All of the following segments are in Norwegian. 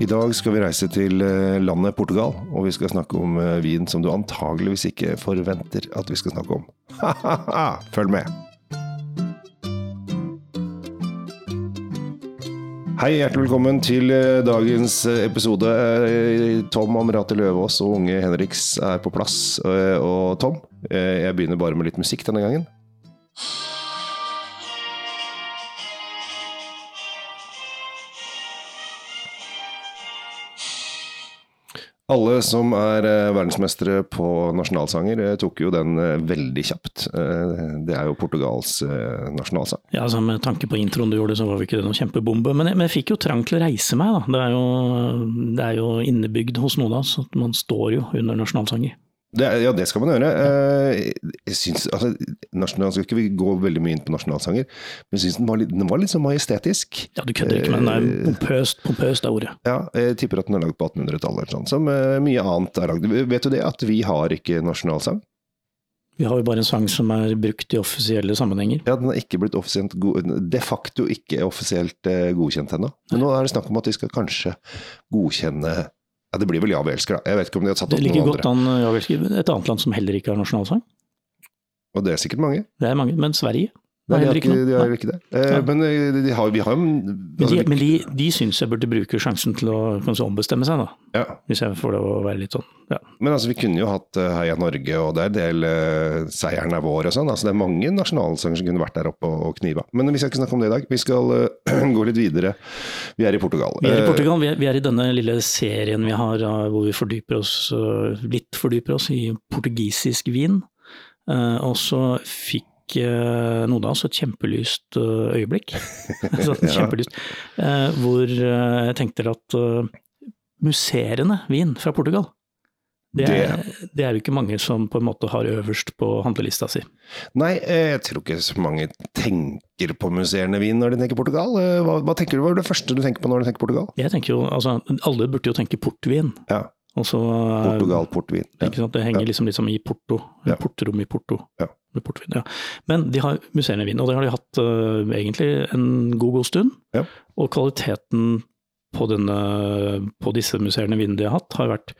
I dag skal vi reise til eh, landet Portugal, og vi skal snakke om eh, vin som du antageligvis ikke forventer at vi skal snakke om. Følg med! Hei, hjertelig velkommen til eh, dagens eh, episode. Eh, Tom Amrate Løvaas og unge Henriks er på plass. Eh, Og Tom, eh, jeg begynner bare med litt musikk denne gangen. Alle som er eh, verdensmestere på nasjonalsanger, eh, tok jo den eh, veldig kjapt. Eh, Det er jo Portugals eh, nasjonalsang. Ja, altså Med tanke på introen du gjorde, så var jo ikke det noen kjempebombe. Men jeg, men jeg fikk jo trang til å reise meg, da. Det er jo, det er jo innebygd hos noen av oss at man står jo under nasjonalsanger. Det, er- ja, det skal man gjøre. Eh, Jeg syns, altså, nasjonal, skal ikke vi gå veldig mye inn på nasjonalsanger, men jeg syns den, var litt- den var litt sånn majestetisk. Ja, du kødder ikke, men det Eh. er pompøst, pompøst er ordet. Ja, jeg tipper at den er lagd på 1800-tallet, eller sånn, som eh, mye annet er lagd. Vet du det, at vi har ikke nasjonalsang? Vi har jo bare en sang som er brukt i offisielle sammenhenger. Ja, Den har ikke blitt offisielt go- de facto ikke offisielt eh, godkjent ennå. Men nå er det snakk om at de skal kanskje godkjenne Ja, det blir vel Ja, vi elsker, da. Jeg vet ikke om de har tatt Det opp ligger noen godt andre. an ja, vel, et annet land som heller ikke har nasjonalsang. Og det er sikkert mange. Det er mange, men Sverige Nei, har de har heller ikke ikke, de noe. har ikke det. Eh, Nei. Men eh, de har, vi har jo en- Men de, altså, men de, de syns jeg burde bruke sjansen til å kanskje ombestemme seg, da. ja. Hvis jeg får lov å være litt sånn. Ja. Men altså, vi kunne jo hatt eh, Heia Norge, og det er en del eh, Seieren er vår og sånn. Altså, det er mange nasjonalsanger som kunne vært der oppe og, og kniva. Men vi skal ikke snakke om det i dag. Vi skal eh, gå litt videre. Vi er i Portugal. Vi er i Eh, Portugal, vi er, vi er i denne lille serien vi har eh, hvor vi fordyper oss, eh, litt fordyper oss i portugisisk vin. Eh, og så fikk eh, noen av oss et kjempelyst eh, øyeblikk. Altså, et Ja. kjempelyst. Eh, hvor eh, jeg tenkte at eh, musserende vin fra Portugal, det er, det er jo ikke mange som på en måte har øverst på handlelista si. Nei, eh, jeg tror ikke så mange tenker på musserende vin når de tenker Portugal. Eh, Hva, hva tenker du, hva er det første du tenker på når du tenker Portugal? Jeg tenker jo, altså, Alle burde jo tenke portvin. Ja, Og så, eh, Portugal, portvin. Ja. Ikke sant? Det henger liksom, liksom i Porto, Ja. portrom i Porto. Ja. Med portvin, ja. Men de har musserende vin, og det har de hatt eh, egentlig en god god stund. Ja. Og kvaliteten på, denne, på disse musserende vinene de har hatt, har vært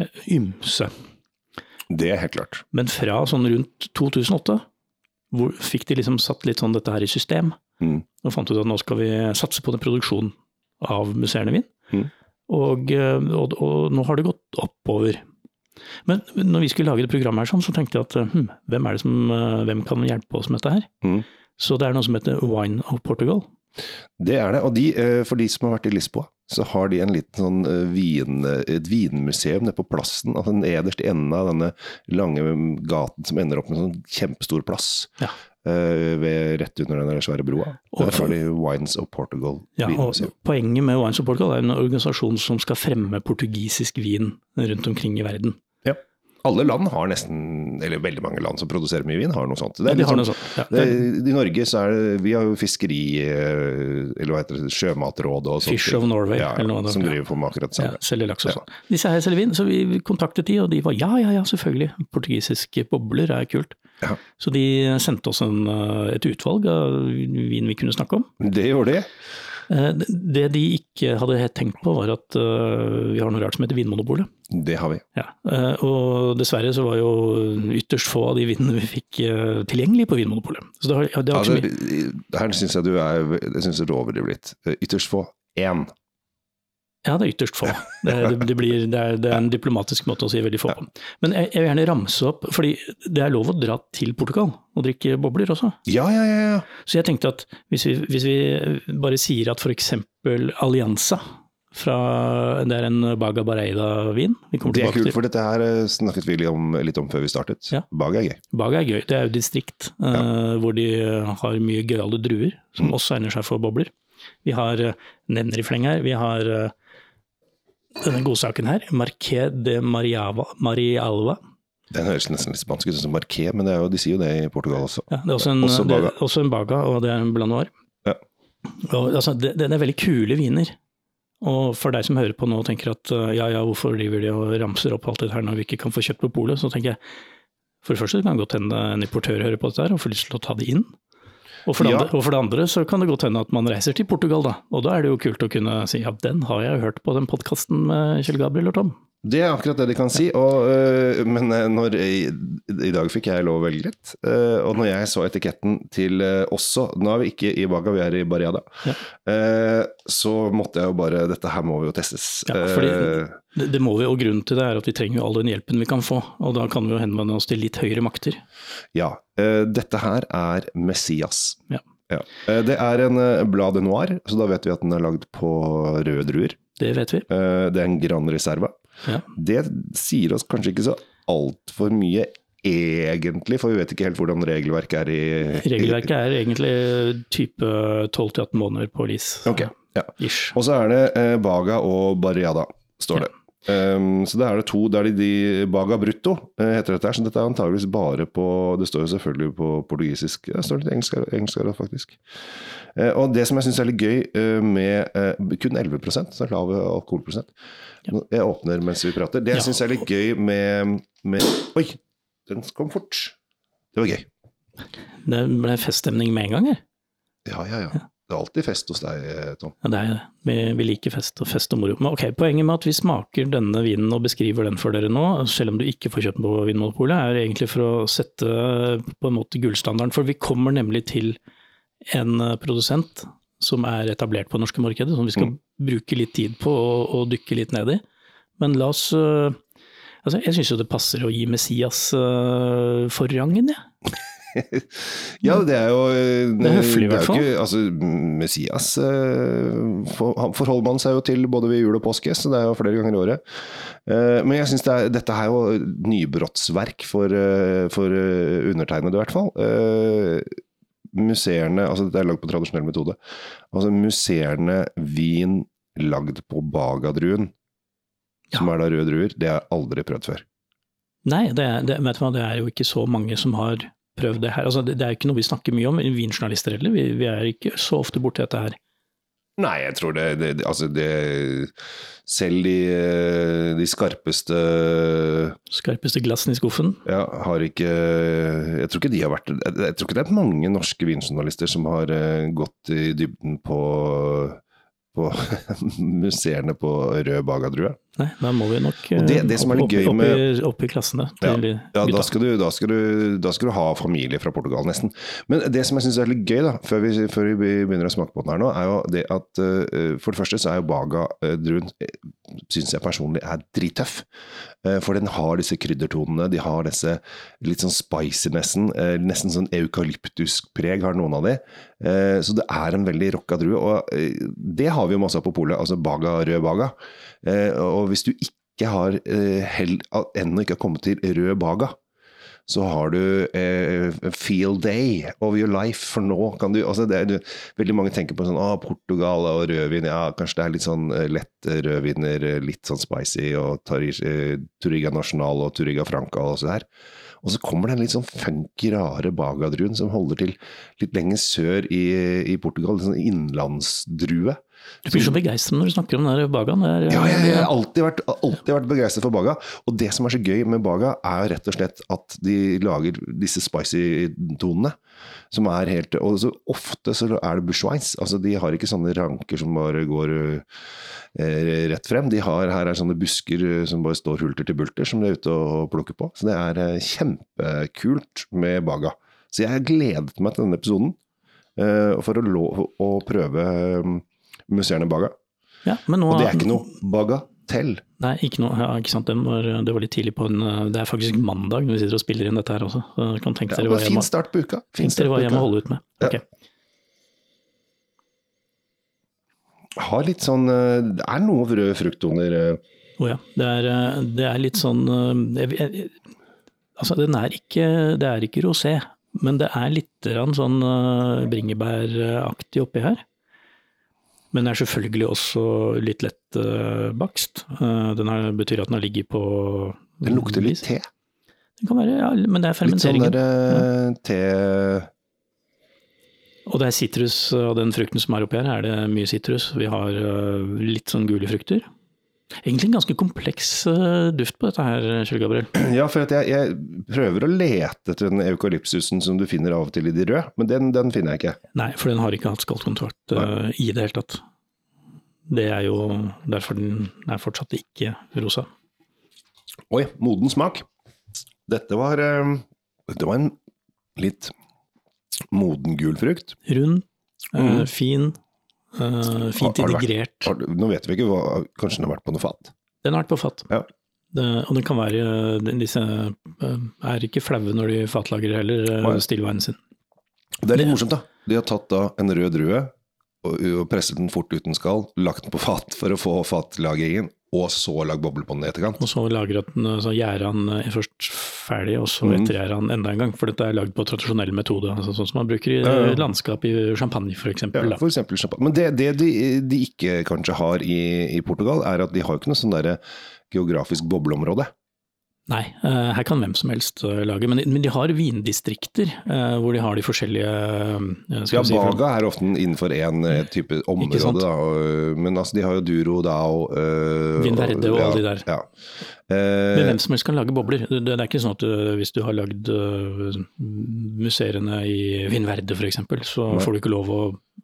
eh, ymse. Det er helt klart. Men fra sånn rundt 2008 hvor fikk de liksom satt litt sånn dette her i system, Mm. og fant ut at nå skal vi satse på den produksjonen av musserende vin. Mhm. Og, eh, og, og nå har det gått oppover. Men når vi skulle lage det programmet her sånn, så tenkte jeg at eh, hm, hvem, er det som, eh, hvem kan hjelpe oss med dette her? Mhm. Så det er noe som heter Wine of Portugal. Det er det. Og de, eh, for de som har vært i Lisboa, så har de en liten sånn eh, vin, et vinmuseum nede på plassen. Altså den nederste enden av denne lange gaten som ender opp med en sånn kjempestor plass. Ja. eh, Ved, rett under den der svære broa. Og- Der har de Wines of Portugal Ja, og vinmuseum. poenget med Wines of Portugal er en organisasjon som skal fremme portugisisk vin rundt omkring i verden. Alle land har nesten, eller veldig mange land som produserer mye vin, har noe sånt. Det Ja, er de litt har sånn noe sånt. Ja, Det, det er I Norge så er det Vi har jo fiskeri eh, Eller hva heter det? Sjømatrådet og sånt. Fish of Norway, ja, eller noe av det. Som driver på med akkurat det Ja, samme. selger laks og Ja. sånn. Disse her selger vin, så vi kontaktet de, og de var ja, ja, ja, selvfølgelig. Portugisiske bobler er kult. Ja. Så de sendte oss en, eh, et utvalg av vin vi kunne snakke om. Det gjorde det. Eh, Det de ikke hadde helt tenkt på, var at eh, vi har noe rart som heter Vinmonopolet. Det har vi. Ja. eh, Og dessverre så var jo ytterst få av de vinene vi fikk eh, tilgjengelig på Vinmonopolet. Så det har, ja, det har Altså, ikke så mye. her syns jeg du er Jeg synes du overdriver litt. Eh, Ytterst få. Én. Ja, det er ytterst få. Det, er- det, blir, det, er, det er en diplomatisk måte å si veldig få på. Men jeg, jeg vil gjerne ramse opp, fordi det er lov å dra til Portugal og drikke bobler også. Ja, ja, ja, ja. Så jeg tenkte at hvis vi, hvis vi bare sier at f.eks. Allianza fra, det er en Baga Bareida-vin vi kommer Det er tilbake kult, til. for dette her eh, snakket vi litt om, litt om før vi startet. Ja. Bag er gøy. Baga er gøy, det er jo distrikt eh, hvor de eh, har mye gøyale druer, som også egner seg for bobler. Vi har eh, nevner i fleng her, vi har eh, denne godsaken her, Marqué de Mariava, Marialva. Den høres nesten litt spansk ut, som Marqué, men det er jo, de sier jo det i Portugal også. Ja, det er også en, Også det er Baga. også en Baga, og det er en Blanoir. Ja. Og, altså, det, det er veldig kule viner. Og for deg som hører på nå og tenker at eh, ja, ja, hvorfor driver de og ramser opp alt dette her når vi ikke kan få kjøpt på polet, så tenker jeg for det første det kan godt hende en importør hører på dette her og får lyst til å ta det inn. Og for, det Ja. andre, og for det andre så kan det godt hende at man reiser til Portugal, da. Og da er det jo kult å kunne si ja, den har jeg hørt på den podkasten med Kjell Gabriel og Tom. Det er akkurat det de kan si. Og, øh, men øh, når, jeg- i dag fikk jeg lov å velge litt. øh, og når jeg så etiketten til øh, også Nå er vi ikke i Baga, vi er i Barriada. eh, så måtte jeg jo bare Dette her må jo testes. Ja, fordi- Eh, Det, det må vi, og grunnen til det er at vi trenger jo all den hjelpen vi kan få. Og da kan vi jo henvende oss til litt høyere makter. ja. eh, dette her er Messias. Ja. Eh, det er en uh, Blade Noir, så da vet vi at den er lagd på røde druer. Det vet vi. Eh, det er en Gran Reserva. Ja. Det sier oss kanskje ikke så altfor mye egentlig, for vi vet ikke helt hvordan regelverket er i Regelverket er egentlig type 12-18 måneder på LIS. Ok, ja. Ish. Og så er det eh, Baga og Barriada, står det. Ehm, så da er det to da er det de Baga Brutto, eh, heter dette her. Så dette er antageligvis bare på Det står jo selvfølgelig på portugisisk. Det står litt engelsk her- engelsk her, faktisk. Eh, og det som jeg syns er litt gøy eh, med eh, kun 11 så lav alkoholprosent Nå- Jeg åpner mens vi prater. Det Ja. jeg syns er litt gøy med, med Oi, den kom fort. Det var gøy. Det ble feststemning med en gang her. Ja, ja, ja. Det er alltid fest hos deg, eh, Tom. Ja, det er jo det. Vi, vi liker fest og fest og moro. Men ok, Poenget med at vi smaker denne vinen og beskriver den for dere nå, selv om du ikke får kjøpt den på Vinmonopolet, er egentlig for å sette på en måte gullstandarden. For vi kommer nemlig til en eh, produsent som er etablert på det norske markedet, som vi skal Mm. bruke litt tid på å, å dykke litt ned i. Men la oss eh, Altså, jeg syns jo det passer å gi Messias eh, forrangen, jeg. Ja, det er jo eh, Det er høflig i det hvert jo fall. ikke- Altså, Messias eh, for, han forholder man seg jo til både ved jul og påske, så det er jo flere ganger i året. Eh, Men jeg syns det er- dette er jo nybrottsverk for, eh, for eh, undertegnede, i hvert fall. Eh, Museerne Altså, dette er lagd på tradisjonell metode. Altså, museerne vin lagd på Bagadruen, som er da røde druer, det har jeg aldri prøvd før. Nei, det er, det, vet du hva, det er jo ikke så mange som har prøvd det her. Altså, det, det er jo ikke noe vi snakker mye om, vinjournalister heller. Vi, vi er ikke så ofte borti dette her. Nei, jeg tror det, det, det Altså, det Selv de, eh, de skarpeste Skarpeste glassen i skuffen. ja, har ikke Jeg tror ikke de har vært Jeg, jeg tror ikke det er mange norske vinjournalister som har eh, gått i dybden på på museene på Rød Bagadrue. Nei, da må vi nok eh, Og det- det som er litt opp, opp, gøy opp, med- i, opp i klassene Ja, til Ja, da gutta. skal, du, da, skal du, da skal du ha familie fra Portugal, nesten. Men det som jeg syns er litt gøy, da, før vi, før vi begynner å smake på den her nå, er jo det at eh, for det første så er jo eh, Baga-druen, syns jeg personlig, er drittøff. Eh, for den har disse kryddertonene, de har disse litt sånn spicy nesten, eh, nesten sånn eukalyptisk preg har noen av de. Eh, så det er en veldig rocka drue, og eh, det har vi jo masse av på polet, altså Baga, rød Baga. Eh, og hvis du ikke har eh, hell, at ennå ikke har kommet til rød Baga, så har du eh, field day of your life, for nå kan du altså det er, du- Veldig mange tenker på sånn ah, Portugal og rødvin, ja, kanskje det er litt sånn eh, lett eh, rødviner, eh, litt sånn spicy, og tar i, eh, Turiga National og Turiga Franca og så der. Og så kommer den litt sånn funky, rare bagadruen som holder til litt lenger sør i, i Portugal, en sånn innlandsdrue. Du blir så begeistret når du snakker om den der bagaen. Det er, Ja, jeg, jeg har alltid vært, alltid vært begeistret for Baga. Og det som er så gøy med Baga, er jo rett og slett at de lager disse spicy tonene. Som er helt Og så ofte så er det bushwines. Altså, de har ikke sånne ranker som bare går eh, rett frem. De har, her er sånne busker eh, som bare står hulter til bulter, som de er ute og plukker på. Så det er eh, kjempekult med Baga. Så jeg har gledet meg til denne episoden eh, for å, lo, å prøve um, museerne Baga. Ja, men nå, Og det er ikke noe bagatell. Nei, ikke noe. Ja, ikke sant? Den var, det var litt tidlig på en eh, Det er faktisk mandag når vi sitter og spiller inn dette her også. Så dere kan tenke Ja, dere men hva jeg fin må, start på uka. Fin tenke start dere på hva jeg må uka. holde ut med. Ja. Ok. Har litt sånn eh, Det er noe røde frukttoner. eh. Å ja. Det er, eh, det er litt sånn eh, jeg, jeg, Altså, den er ikke, det er ikke rosé, men det er litt grann sånn eh, bringebæraktig oppi her. Men det er selvfølgelig også litt lett eh, bakst. Eh, Den har, betyr at den har ligget på Den lukter litt te. Den kan være, ja, men det er Litt sånn fermenteringen. der eh, te Og det er eh, sitrus og den frukten som er oppi her, er det mye sitrus. Vi har eh, litt sånn eh, gule frukter. Egentlig en ganske kompleks eh, duft på dette her, Kjell Gabriel. Ja, for at jeg, jeg prøver å lete etter den eukalypsusen som du finner av og til i de røde, men den, den finner jeg ikke. Nei, for den har ikke hatt skaltkontrakt eh, i det hele tatt. Det er jo derfor den er fortsatt ikke rosa. Oi, moden smak. Dette var, eh, dette var en litt moden gul frukt. Rund, eh, Mhm. fin, eh, fint Har- har det integrert. Har du- Nå vet vi ikke hva Kanskje den har vært på noe fat? Den har vært på fat. Ja. Det, og den kan være den- Disse eh, er ikke flaue når de fatlagrer heller eh, Nei. stillveien sin. Det er litt Det- morsomt, da. De har tatt da en rød rue og, og presset den fort uten skall, lagt den på fat for å få fatlagringen, og så lagd boble på den i etterkant. Og så lager at den, så gjærer han eh, først ferdig, og så Mhm. ettergjærer han enda en gang. For dette er lagd på tradisjonell metode, altså sånn som man bruker i Ja, ja. landskap i champagne f.eks. Ja, for eksempel champagne. Men det, det de, de ikke kanskje har i, i Portugal, er at de har jo ikke noe sånn derre geografisk bobleområde. Nei, eh, her kan hvem som helst eh, lage. Men, men de har vindistrikter eh, hvor de har de forskjellige eh, Ja, skal vi si, Baga er ofte innenfor én type sant? område, da. og- Men altså, de har jo Duro da og øh, Vinverde og ja, alle de der. Ja. Men Eh, hvem som helst kan lage bobler. Det, det er ikke sånn at øh, hvis du har lagd øh, museene i Vinverde f.eks., så Nei. får du ikke lov å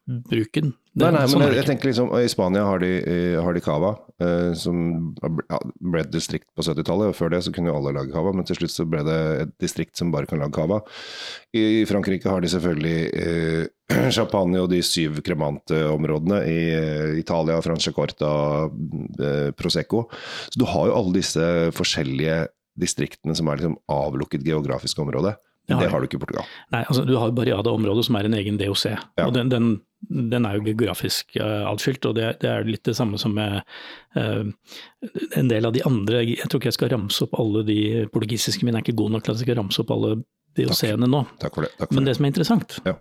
bruke den. Det, nei, nei, sånn men er jeg, det jeg tenker liksom I Spania har de, eh, har de cava, eh, som ja, ble et distrikt på 70-tallet. og Før det så kunne jo alle lage cava, men til slutt så ble det et distrikt som bare kan lage cava. I Frankrike har de selvfølgelig eh, champagne og de syv kremante områdene. I eh, Italia, Franciacorta, eh, Prosecco. Så du har jo alle disse forskjellige distriktene som er liksom avlukket geografisk område. Det har Det de. har du ikke i Portugal. Nei, altså, du har jo Barriada-området, som er en egen DOC. og den, den, den er jo geografisk uh, atskilt, og det, det er litt det samme som med eh, en del av de andre. Jeg tror ikke jeg skal ramse opp alle de portugisiske mine, jeg er ikke god nok til at jeg skal ramse opp alle DOC-ene nå. Takk for det. Takk for Men det. det som er interessant, Ja.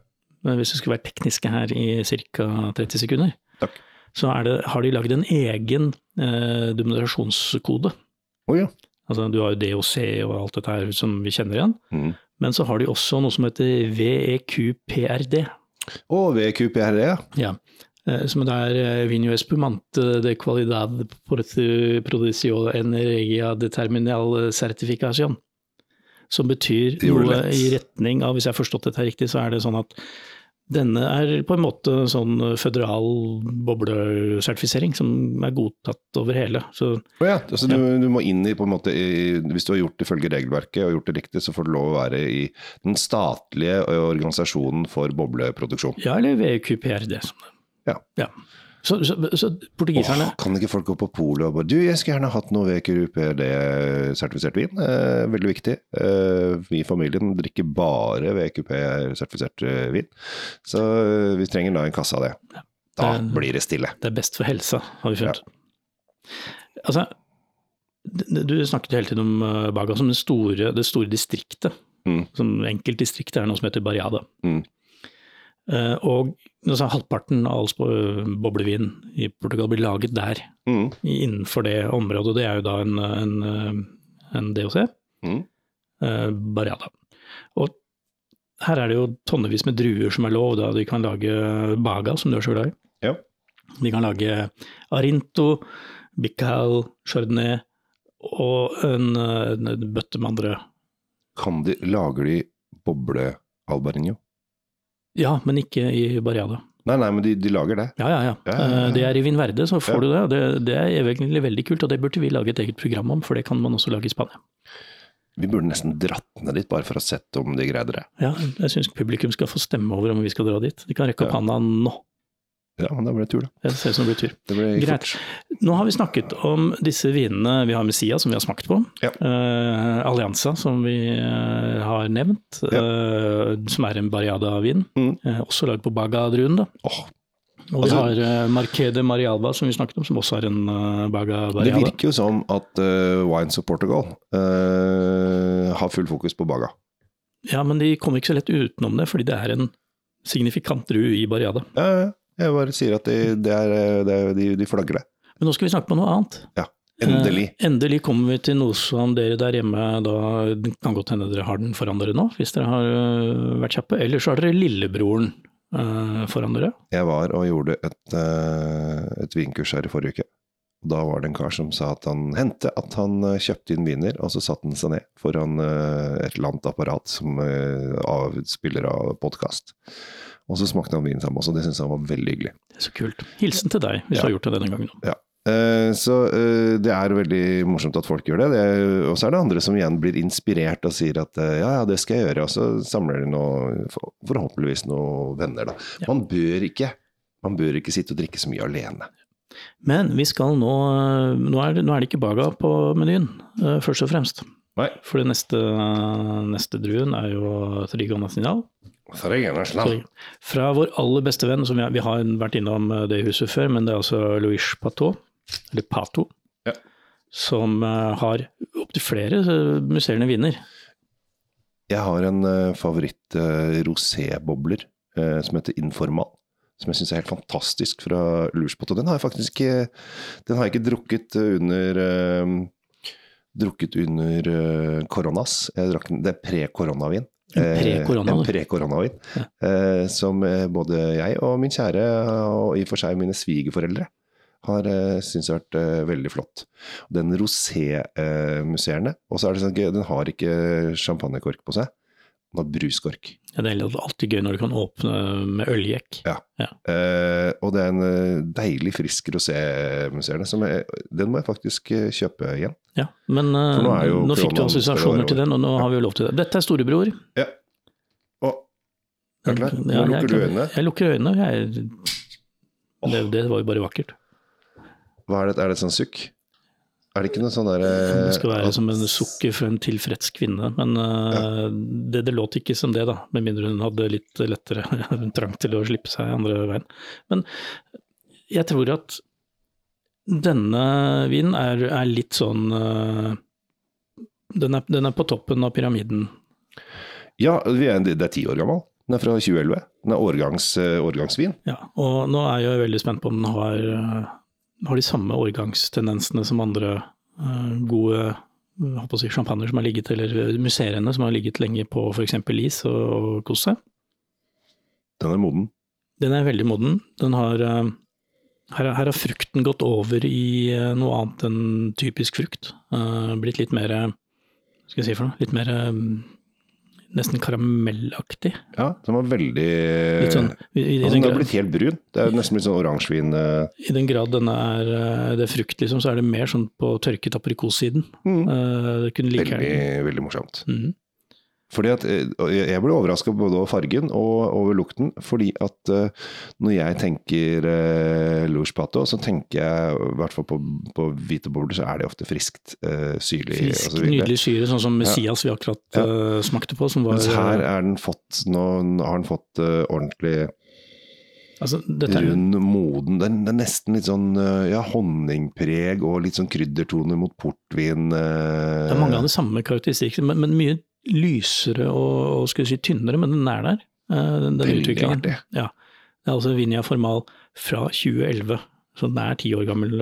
men hvis vi skulle vært tekniske her i ca. 30 sekunder, Takk. så er det, har de lagd en egen eh, dominasjonskode. Å ja. Altså, du har jo DOC og alt dette her som vi kjenner igjen. Mm. Men så har de også noe som heter E VEQPRD. Og VQPRE, E, ja. Ja. eh, Som det er eh, Vino Espumante de Qualidad Portu- Producio en Regia Determinal Certification. Som betyr Det gjorde du noe lett. i retning av, hvis jeg har forstått dette her riktig, så er det sånn at denne er på en måte sånn føderal boblesertifisering som er godtatt over hele. Så Å ja, altså du, du må inn i, på en måte, i, hvis du har gjort det ifølge regelverket og gjort det riktig, så får du lov å være i den statlige ø, organisasjonen for bobleproduksjon. ja, eller VQPRD som det. Ja. Så, så, så Åh, portugiserne kan ikke folk gå på polet og bare Du, jeg skulle gjerne hatt noe VQPD-sertifisert vin. Eh, veldig viktig. Eh, vi i familien drikker bare VQP-sertifisert eh, vin, så eh, vi trenger da en kasse av det. Da Det- blir det stille. Det er best for helsa, har vi funnet. Altså, d- du snakket hele tiden om eh, Baga som det store, det store distriktet. Mm. Som enkeltdistriktet er noe som heter Barriada. Mm. Eh, og altså, halvparten av all sp- boblevin i Portugal blir laget der, Mm, innenfor det området. Det er jo da en, en, eh, en DOC, mm. eh, Barriada. Og her er det jo tonnevis med druer som er lov, da de kan lage Baga, som du er så glad i. Ja. De kan lage Arinto, Bical, Chardonnay og en, eh, en bøtte med andre. Kan de, lager de boble-albarinho? Ja, men ikke i Barriada. Nei, nei, men de, de lager det. Ja, ja, ja. Ja, ja, ja. Eh, Det er i Vinverde, så får du det. det. Det er egentlig veldig kult, og det burde vi lage et eget program om, for det kan man også lage i Spania. Vi burde nesten dratt ned litt, bare for å sette om de greide det. Ja, jeg syns publikum skal få stemme over om vi skal dra dit. De kan rekke opp Ja. handa nå. Ja, men da ble det tur, da. Det ser ut som det blir tur. Det ble Greit. fort. Nå har vi snakket om disse vinene vi har med Sia, som vi har smakt på. Ja. Eh, Allianza, som vi eh, har nevnt, Ja. eh, som er en Barriada-vin. Mm. eh, også lagd på Baga-druen. da. Åh, Og Altså- vi har uh, Marquede Marialba, som vi snakket om, som også er en eh, Baga det Barriada. virker jo som at eh, Wines of Portugal eh, har full fokus på Baga. Ja, men de kommer ikke så lett utenom det, fordi det er en signifikant drue i Barriada. Ja, ja, ja. jeg bare sier at de, det er, eh, det er, de, de flagger det. Men nå skal vi snakke om noe annet. Endelig. Eh, endelig kommer vi til noe som dere der hjemme da Det kan godt hende dere har den foran dere nå, hvis dere har øh, vært kjappe. Eller så har dere lillebroren øh, foran dere. Jeg var og gjorde et, eh, et vinkurs eh, her i forrige uke. Og da var det en kar som sa at han hendte at han eh, kjøpte inn viner, og så satte han seg ned foran eh, et eller annet apparat som eh, av, spiller av podkast. Og så smakte han vinen sammen også, og det syntes han var veldig hyggelig. Det er så kult. Hilsen til deg, hvis Ja. du har gjort det denne gangen. Eh, Så eh, det er veldig morsomt at folk gjør det. det er- og så er det andre som igjen blir inspirert og sier at eh, ja, ja, det skal jeg gjøre. Og så samler de noe, for- forhåpentligvis noen venner, da. Ja. Man bør ikke. Man bør ikke sitte og drikke så mye alene. Men vi skal nå eh, Nå er det, nå er det ikke Baga på menyen, eh, først og fremst. Nei. For det neste, neste druen er jo Trigo National. Nei, Fra vår aller beste venn, som vi, vi har vært innom eh, det huset før, men det er altså Louis Pateau, eller Pato, Ja. som eh, har opptil flere eh, musserende viner. Jeg har en eh, favoritt eh, rosébobler eh, som heter Informal. Som jeg syns er helt fantastisk fra Lurspot. Og den har jeg faktisk ikke, den har jeg ikke drukket eh, under eh, Drukket under eh, koronas. Jeg drakk den, det er pre-koronavin. En Eh, pre-korona, en du. pre-koronavin. eh, Som eh, både jeg og min kjære, og i og for seg mine svigerforeldre, har eh, syntes har vært eh, veldig flott. Den rosé-musserende. Og så er det sånn gøy, den har ikke champagnekork på seg. Den har bruskork. Ja, Det er alltid gøy når du kan åpne med øljekk. Eh, og det er en eh, deilig, frisk rosé-musserende. som jeg- Den må jeg faktisk eh, kjøpe igjen. Ja, men eh, For nå, nå er jo fikk koronaen du assosiasjoner over. til den, og nå har vi jo lov til det. Dette er storebror. Og er du klar? Nå Ja, jeg er lukker du klar. øynene. Jeg lukker øynene. Jeg, det, det var jo bare vakkert. Hva er det, er det et sånt sukk? Er det ikke noe sånn derre Det skal være som en sukker for en tilfreds kvinne, men eh, det, det låt ikke som det, da. Med mindre hun hadde litt lettere trang til å slippe seg andre veien. Men jeg tror at denne vinen er, er litt sånn eh, den er, den er på toppen av pyramiden. Ja, vi er, det er ti år gammel. Den er fra 2011. Den er årgangs, eh, årgangsvin. Ja, og nå er jeg veldig spent på om den har, eh, har de samme årgangstendensene som andre eh, gode jeg holdt på å si, champagner som har ligget, eller museene som har ligget lenge på f.eks. is og, og kost seg. Den er moden. Den er veldig moden. Den har, eh, her, her har frukten gått over i eh, noe annet enn typisk frukt. Eh, Blitt litt mer, eh, hva skal jeg si for noe, litt mer eh, nesten karamellaktig. Ja, den var veldig Litt sånn, i, i, i altså, den Den har grad- blitt helt brun. Det er jo nesten litt sånn oransjevin. eh, I den grad denne er, eh, det er frukt, liksom, så er det mer sånn på tørket aprikossiden. Mm. Eh, Det kunne like gjerne Veldig, veldig morsomt. Mhm. Fordi at eh, og Jeg jeg ble overraska både over fargen og over lukten. Fordi at eh, når jeg tenker eh, Louis Pato, så tenker jeg i hvert fall på, på hvite bobler, så er det ofte friskt, eh, syrlig Frisk, og så videre. nydelig syre, sånn som Messias vi akkurat eh, smakte på. Som var, Mens her er den fått, nå har den fått eh, ordentlig altså, dette er, rund, moden den, den er nesten litt sånn eh, ja, honningpreg og litt sånn kryddertoner mot portvin. eh, det er mange av de samme karakteristikkene, men, men mye lysere og, og skal vi si, tynnere, men den er der. eh, Den, den utviklingen. Veldig artig. Det er altså Vinja Formal fra 2011, så den er ti år gammel,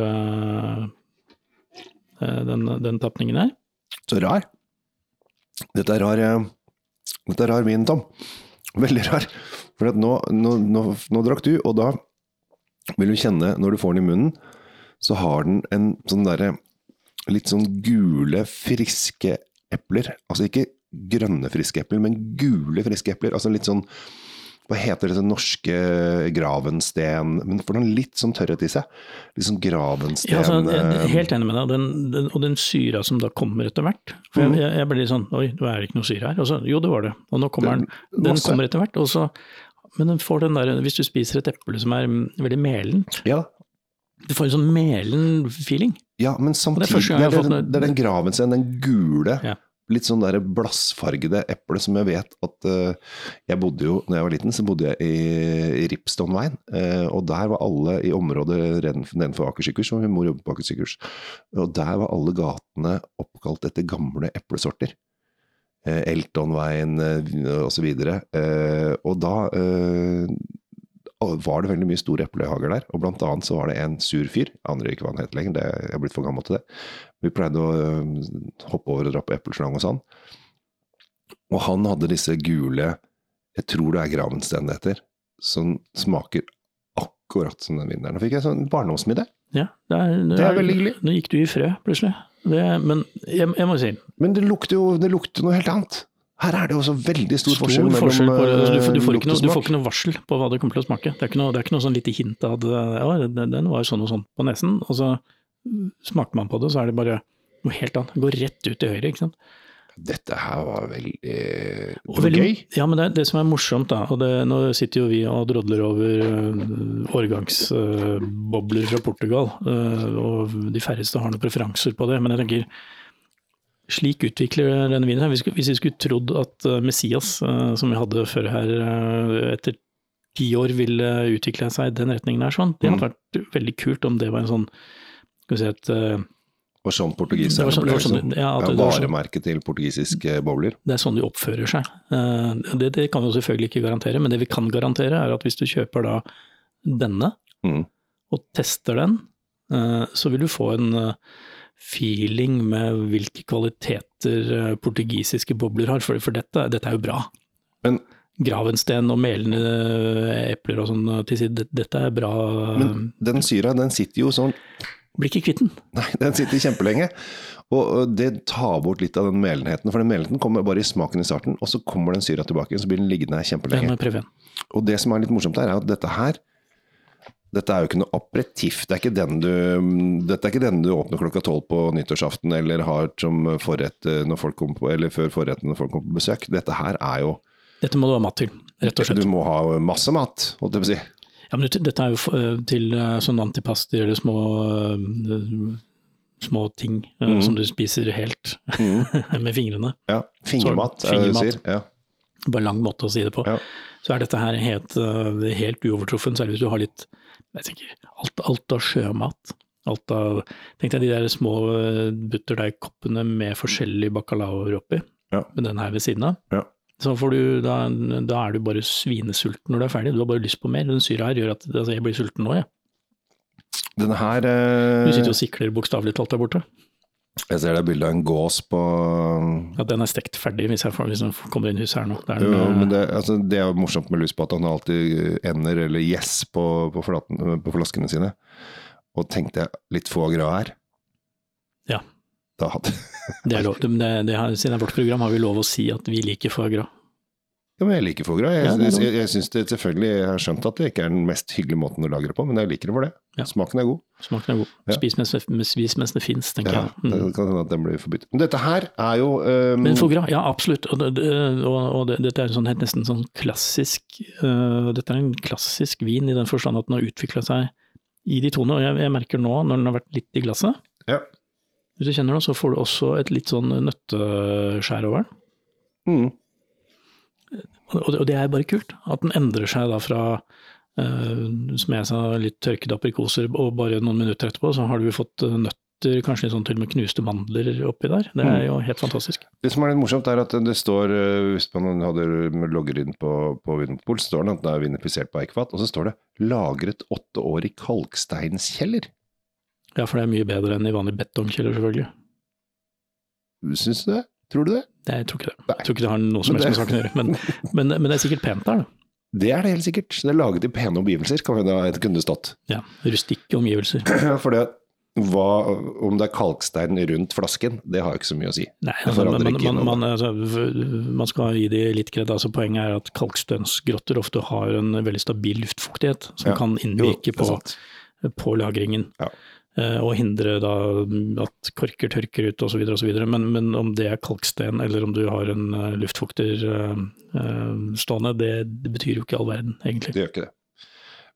eh, eh, den, den tapningen her. Så rar. Dette er rar, eh, dette er rar min, Tom. Veldig rar. For at nå, nå, nå, nå drakk du, og da vil du kjenne, når du får den i munnen, så har den en sånn derre litt sånn gule, friske epler. Altså ikke grønne friske epler, men gule friske epler. Altså litt sånn hva heter det, sånn norske gravensten Men får den litt sånn tørrhet i seg. Litt sånn gravensten Ja, altså, jeg eh, er helt enig med deg, den, den, og den syra som da kommer etter hvert. For Mhm. jeg, jeg ble litt sånn oi, nå er det ikke noe syre her. Og så, jo, det var det. Og nå kommer den. Den masse. kommer etter hvert. Og så, men den får den der, hvis du spiser et eple som er mm, veldig melent, Ja, du får en sånn melen feeling. Ja, men samtidig det er første gang det jeg er, har fått den, noe- det er den graven sin, den gule, Ja. litt sånn der blassfargede eplet som jeg vet at eh, Jeg bodde jo, når jeg var liten, så bodde jeg i, i Ripstonveien. eh, og der var alle i området reden- nedenfor Aker sykehus, og min mor jobbet på Aker sykehus. Og der var alle gatene oppkalt etter gamle eplesorter. Eh, Eltonveien eh, og så videre. Eh, og da eh, og var det veldig mye store eplehager der. Og blant annet så var det en sur fyr, jeg aner ikke hva han het lenger, det, jeg er blitt for gammel til det. Vi pleide å øh, hoppe over og dra på epleslang hos han. Og han hadde disse gule, jeg tror det er gravensten det heter, som smaker akkurat som den vinen der. Nå fikk jeg sånn barndomsmiddag. Ja, det er, Det er veldig hyggelig. Nå gikk du i frø, plutselig. Det, men jeg, jeg må si Men det lukter jo det lukter noe helt annet. Her er det jo også veldig stor, stor forskjell mellom forskjell på det. Du, får- du, eh, får ikke noe, lukt du og får smak. ikke noe varsel på hva det kommer til å smake. Det er ikke noe, det er ikke noe sånn lite hint av at ja, den- den var sånn og sånn på nesen, og så smaker man på det, så er det bare noe helt annet. Det går rett ut til høyre, ikke sant. Dette her var veldig eh, det Og var veldig- gøy. Ja, men det, er det som er morsomt, da, og det, nå sitter jo vi og drodler over øh, årgangsbobler fra Portugal, øh, og de færreste har noen preferanser på det, men jeg tenker slik utvikler denne vinen seg. Hvis- Hvis vi skulle trodd at øh, Messias, øh, som vi hadde før her, øh, etter ti år ville utvikle seg i den retningen her, sånn, det hadde vært veldig kult om det var en sånn skal vi si et, øh, Og sånn det portugis er var sånn, det var opplevelsen. sånn, ja, at Ja, det var sånn, varemerket til portugisiske bobler. det er sånn de oppfører seg. Eh, Det, det kan vi jo selvfølgelig ikke garantere, men det vi kan garantere er at hvis du kjøper da denne, Mm. Um. og tester den, eh, så vil du få en eh, feeling med hvilke kvaliteter eh, portugisiske bobler har, for, for dette, dette er jo bra. Men- Gravensten og melende epler og sånn eh, til side, det- dette er bra. Men den syra, den sitter jo sånn Blir ikke kvitt den. Nei, den sitter kjempelenge. Og og det tar bort litt av den melenheten. For den melenheten kommer bare i smaken i starten, og så kommer den syra tilbake. Så blir den liggende her Det kjempelenge. med Prevén. Og det som er litt morsomt her, er at dette her dette er jo ikke noe aperitiff. Det er ikke den du, dette er ikke den du åpner klokka tolv på nyttårsaften eller har som forrett eh, når folk kommer på, eller før forretten når folk kommer på besøk. Dette her er jo Dette må du ha mat til, rett og slett. Du må ha masse mat, holdt jeg på å si. Ja, men det- dette er jo f- eh, til eh, sånn antipaster eller små, eh, små ting eh, Mhm. som du spiser helt med fingrene. Ja, fingermat, Så, er det du fingermat. sier. Ja. Bare lang måte å si det på. Ja. Så er dette her helt, eh, helt uovertruffen, særlig hvis du har litt jeg tenker, alt, alt av sjømat. Alt av, tenk deg de der små eh, butterdeigkoppene med forskjellige bacalaoer oppi, Ja. med den her ved siden av. Ja. Så får du, da, da er du bare svinesulten når du er ferdig, du har bare lyst på mer. Den syra her gjør at altså, jeg blir sulten nå, jeg. Denne her eh, Du sitter jo og sikler bokstavelig talt der borte. Jeg ser det er bilde av en gås på Ja, den er stekt ferdig hvis jeg, får, hvis jeg kommer inn i huset her nå. Det er jo, den, jo, eh, men det, altså, det er jo morsomt med lus på at han alltid eh, ender eller gjess på, på, flaten- eh, på flaskene sine. Og tenkte jeg litt få grad her. Ja. Da hadde det er lov, det, det, det, er- siden det er vårt program, har vi lov å si at vi liker foie gras. Ja, men jeg liker foie gras. Jeg, Ja, det er jeg, lov. jeg, synes det selvfølgelig, jeg har skjønt at det ikke er den mest hyggelige måten å lage det på, men jeg liker det for det. Ja. Smaken er god. Smaken er god. Ja. Spis, mens, det- spis mens det fins, tenker Ja, jeg. det Mm. kan hende at den blir forbudt. Men dette her er jo ehm, Men foie gras, ja absolutt. Og, det, det- og, og det, dette er en sånn, helt nesten sånn klassisk eh, Dette er en klassisk vin i den forstand at den har utvikla seg i de tonene. Og jeg, jeg merker nå, når den har vært litt i glasset Ja. Hvis du kjenner den, så får du også et litt sånn nøtteskjær over den. mm, Og og det, og det er bare kult, at den endrer seg da fra eh, som jeg sa, litt tørkede aprikoser, og bare noen minutter etterpå så har du fått eh, nøtter, kanskje litt sånn til og med knuste mandler oppi der. Det Mm. er jo helt fantastisk. Det som er litt morsomt, er at det står eh, Hvis man hadde logger inn på, på Vinmonopol, så står det at den er vinifisert på eikefat, og så står det 'lagret åtte år i kalksteinskjeller'. Ja, for det er mye bedre enn i vanlige betongkjeller, selvfølgelig. Syns du det? Tror du det? Nei, jeg tror ikke det. Nei. Jeg tror ikke det har noe som Men helst med det- saken å gjøre. Men, men, men det er sikkert pent der, da. Det er det helt sikkert. Så Det er laget i pene omgivelser, kan vi da kunne det stått. Ja, Rustikke omgivelser. For det, hva, om det er kalkstein rundt flasken, det har jo ikke så mye å si. Nei, Det altså, forandrer man, man, ikke man, innholdet. altså, v- man skal gi de litt kred. Altså, poenget er at kalkstønsgrotter ofte har en veldig stabil luftfuktighet, som Ja. kan Jo, altså, innvirke det er på sant. på lagringen. Ja. Eh, Og hindre da at korker tørker ut osv. osv. Men, men om det er kalksten eller om du har en eh, luftfukter eh, eh, stående, det, det betyr jo ikke all verden, egentlig. Det gjør ikke det.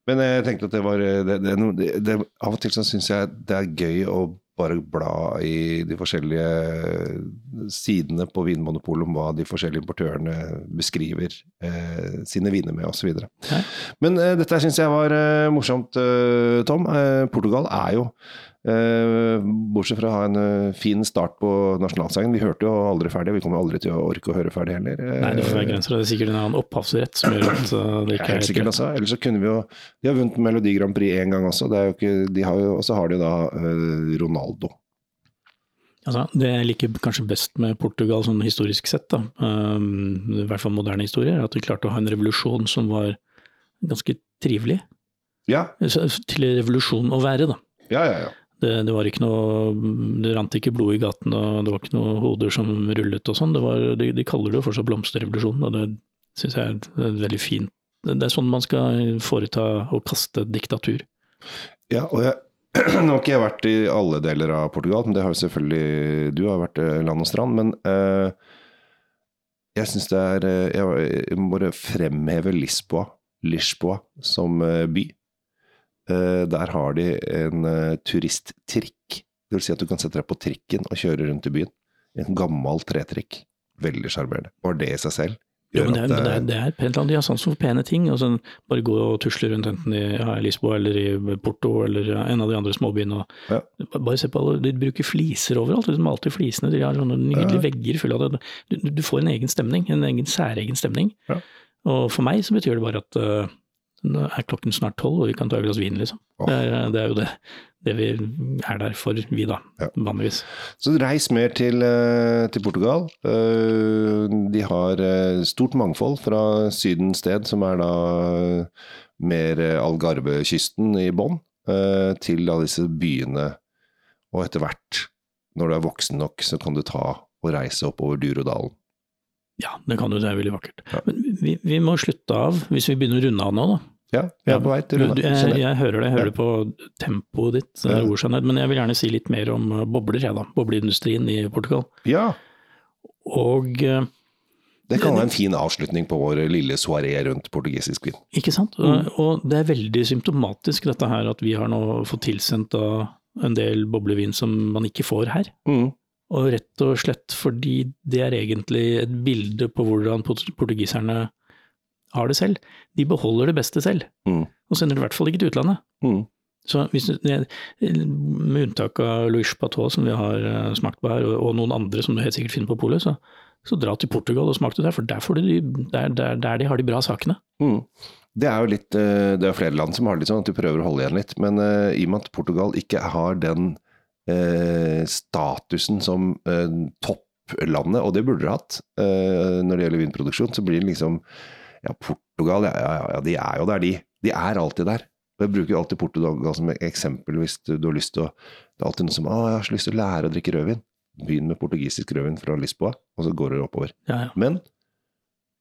Men eh, jeg tenkte at det var det, det, er noe- det, det, Av og til så syns jeg det er gøy å bare bla i de forskjellige sidene på Vinmonopolet om hva de forskjellige importørene beskriver eh, sine viner med, osv. Ja. Men eh, dette syns jeg var eh, morsomt, eh, Tom. Eh, Portugal er jo Eh, bortsett fra å ha en eh, fin start på nasjonalsangen. Vi hørte jo aldri ferdig, vi kommer aldri til å orke å høre ferdig heller. Eh, Nei, det får være grenser. og Det er sikkert en annen opphavsrett som gjør at eh, det ja, ikke helt sikkert er altså. Ellers så kunne vi jo De har vunnet Melodi Grand Prix én gang også, det er jo ikke, de har jo, og så har de da eh, Ronaldo. altså, Det jeg liker kanskje best med Portugal sånn historisk sett, da, eh, i hvert fall moderne historier, er at de klarte å ha en revolusjon som var ganske trivelig. Ja, Så- Til revolusjon å være, da. Ja, ja, ja. Det, det var ikke noe Det rant ikke blod i gaten, og det var ikke noe hoder som rullet og sånn. Det var- De, de kaller det jo fortsatt blomsterrevolusjonen, og det syns jeg er et veldig fint. Det det er sånn man skal foreta og kaste diktatur. ja og jeg, nå har ikke jeg vært i alle deler av Portugal, men det har jo selvfølgelig du har vært eh, land og strand. Men eh, jeg syns det er eh, Jeg jeg må bare fremheve Lisboa, Lisboa som eh, by. Eh, der har de en eh, turisttrikk. Det vil si at du kan sette deg på trikken og kjøre rundt i byen. En gammel tretrikk. Veldig sjarmerende. Bare det i seg selv Jo, men det, at eh, er, men det, er, det er pent land. De har sans for pene ting. og sånn, bare gå og tusle rundt enten i ja, i Lisboa eller i Porto eller ja, en av de andre småbyene. Og, Ja. Ba- Bare se på alle, De bruker fliser overalt. De malte flisene. De har sånne nydelige vegger fulle av det. Du, du- du får en egen stemning. En egen særegen stemning. Ja. Og for meg så betyr det bare at eh, nå er klokken snart tolv, og vi kan ta et glass vin, liksom. Åh. Det, er, det er jo det, det vi er der for, vi da, Ja. vanligvis. Så reis mer til, eh, til Portugal. Eh, De har eh, stort mangfold fra Sydens sted, som er da eh, mer eh, Algarvekysten i bånn, eh, til da disse byene. Og etter hvert, når du er voksen nok, så kan du ta og reise oppover Durodalen. Ja, det kan du, det er veldig vakkert. Ja. Men vi, vi må slutte av, hvis vi begynner å runde av nå, da. Ja, vi Ja, er på vei til Du, Runa. du, eh, jeg, jeg hører det, jeg hører på tempoet ditt, det er Ja. ordskjønnhet, men jeg vil gjerne si litt mer om eh, bobler, jeg da. Bobleindustrien i Portugal. Ja, Og eh, det kan være en fin avslutning på vår lille soaré rundt portugisisk vin. ikke sant? Og- Mm. Og det er veldig symptomatisk dette her at vi har nå fått tilsendt da en del boblevin som man ikke får her. Mm. Og rett og slett fordi det er egentlig et bilde på hvordan port- portugiserne har det selv. De beholder det beste selv, Mm. og sender det i hvert fall ikke til utlandet. Mm. Så hvis, du- det- med unntak av Louis Patot, som vi har eh, smakt på her, og, og noen andre som du helt sikkert finner på polet, så, så dra til Portugal og smak det der, for der, får du de, der, der, der de har de bra sakene. Mm. Det er jo litt, eh, det er flere land som har det litt sånn at de prøver å holde igjen litt. Men eh, i og med at Portugal ikke har den eh, statusen som eh, topplandet, og det burde det hatt eh, når det gjelder vinproduksjon, så blir det liksom Ja, Portugal, ja, ja, ja, de er jo der, de. De er alltid der. Og Jeg bruker jo alltid Portugal som eksempel hvis du, du har lyst til å Det er alltid noen som Å, jeg har så lyst til å lære å drikke rødvin. Begynn med portugisisk rødvin fra Lisboa, og så går du oppover. Ja, ja. Men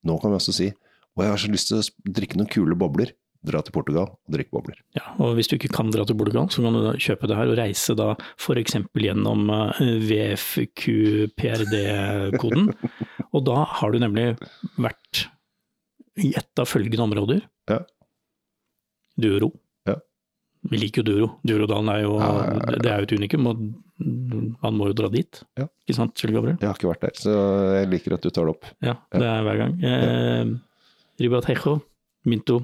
nå kan vi også si Og jeg har så lyst til å sp- drikke noen kule bobler. Dra til Portugal og drikk bobler. ja. Og hvis du ikke kan dra til Portugal, så kan du da kjøpe det her og reise da f.eks. gjennom eh, VFQPRD-koden. Og da har du nemlig vært i ett av følgende områder. Ja. Duro. Ja. Vi liker jo Duro. Durodalen er jo, Ja, ja, ja, ja. Det er jo et unikum, og man må jo dra dit. Ja. Ikke sant, Kjell Gabriel? Jeg har ikke vært der, så jeg liker at du tar det opp. Ja, det er hver gang. Eh, Ribatejo, Minto,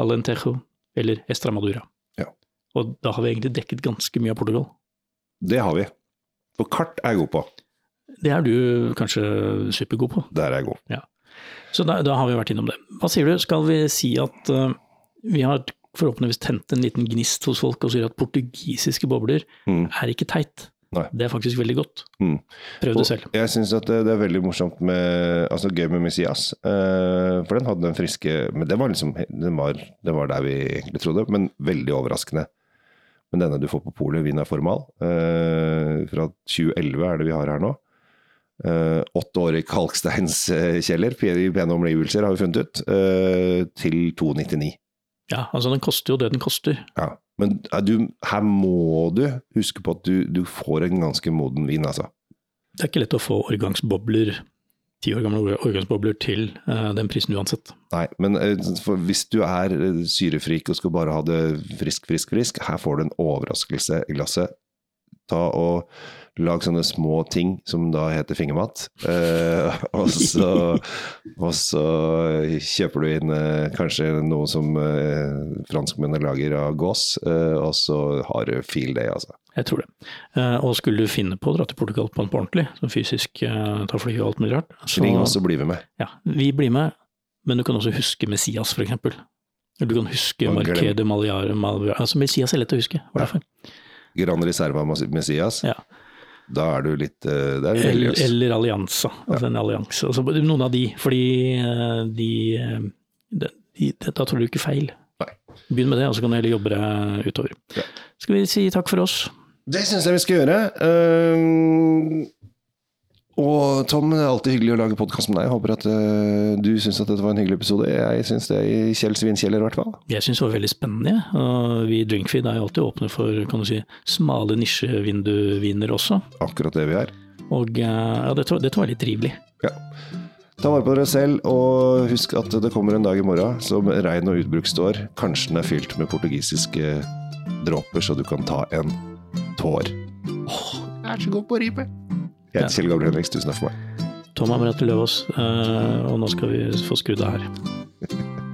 Alentejo eller Estramadura. Ja. Og da har vi egentlig dekket ganske mye av Portugal. Det har vi. For kart er jeg god på. Det er du kanskje supergod på. Der er jeg god. Så da, da har vi vært innom det. Hva sier du, skal vi si at eh, vi har forhåpentligvis tent en liten gnist hos folk og sier at portugisiske bobler Mm. er ikke teit. Nei. Det er faktisk veldig godt. Mm. Prøv det selv. Og jeg syns at det, det er veldig morsomt med Altså gøy med Messias. eh, for den hadde den friske Men det var liksom den var, det var der vi egentlig trodde, men veldig overraskende. Men denne du får på polet, Vina Formal, eh, fra 2011 er det vi har her nå. Eh, åtte år i kalksteinskjeller, i pene omgivelser, har vi funnet ut. eh, til 299. Ja, altså den koster jo det den koster. Ja. Men eh, du, her må du huske på at du, du får en ganske moden vin, altså. Det er ikke lett å få årgangsbobler, ti år gamle år- årgangsbobler, til eh, den prisen uansett. Nei, men eh, for hvis du er eh, syrefrik og skal bare ha det frisk, frisk, frisk, her får du en overraskelse i glasset. Ta og lag sånne små ting som da heter fingermat, eh, og, så, og så kjøper du inn eh, kanskje noe som eh, franskmennene lager av gås, eh, og så har du feel day, altså. Jeg tror det. Eh, og skulle du finne på å dra til Portugal på en på ordentlig, sånn fysisk eh, ta fly og alt mulig rart, så Ring oss og bli med meg. ja, vi blir med. Men du kan også huske Messias, for eksempel. Eller du kan huske Og glem- Marqué de Maliar, Malviar Altså, Messias er lett å huske. Hva er det for? Gran Reserva Messias. Ja. Da er du litt eh, Da er du Eller, religiøs. eller Allianza. Altså en allianse. Altså, noen av de, fordi eh, de, eh, de, de Da tar du ikke feil. Nei. Begynn med det, og så kan du heller jobbe deg utover. Ja. Skal vi si takk for oss? Det syns jeg vi skal gjøre. Ehm, og Tom, det er alltid hyggelig å lage podkast med deg. Jeg håper at eh, du syns at dette var en hyggelig episode. Jeg syns det i Kjell Svinkjeller, i hvert fall. Jeg syns det var veldig spennende. jeg. Og vi i Drinkfeed er jo alltid åpne for kan du si, smale nisjevinduvinner også. Akkurat det vi er. Og eh, ja, dette, var- dette var litt trivelig. Ja. Ta vare på dere selv, og husk at det kommer en dag i morgen som regn og utbrukt står. Kanskje den er fylt med portugisiske eh, dråper, så du kan ta en tår. jeg er så god på å ripe. Jeg Ja. heter Kjell Gabriel Henriks. Tusen takk for meg. Tom Amrette Løvaas, eh, og nå skal vi få skrudd av her.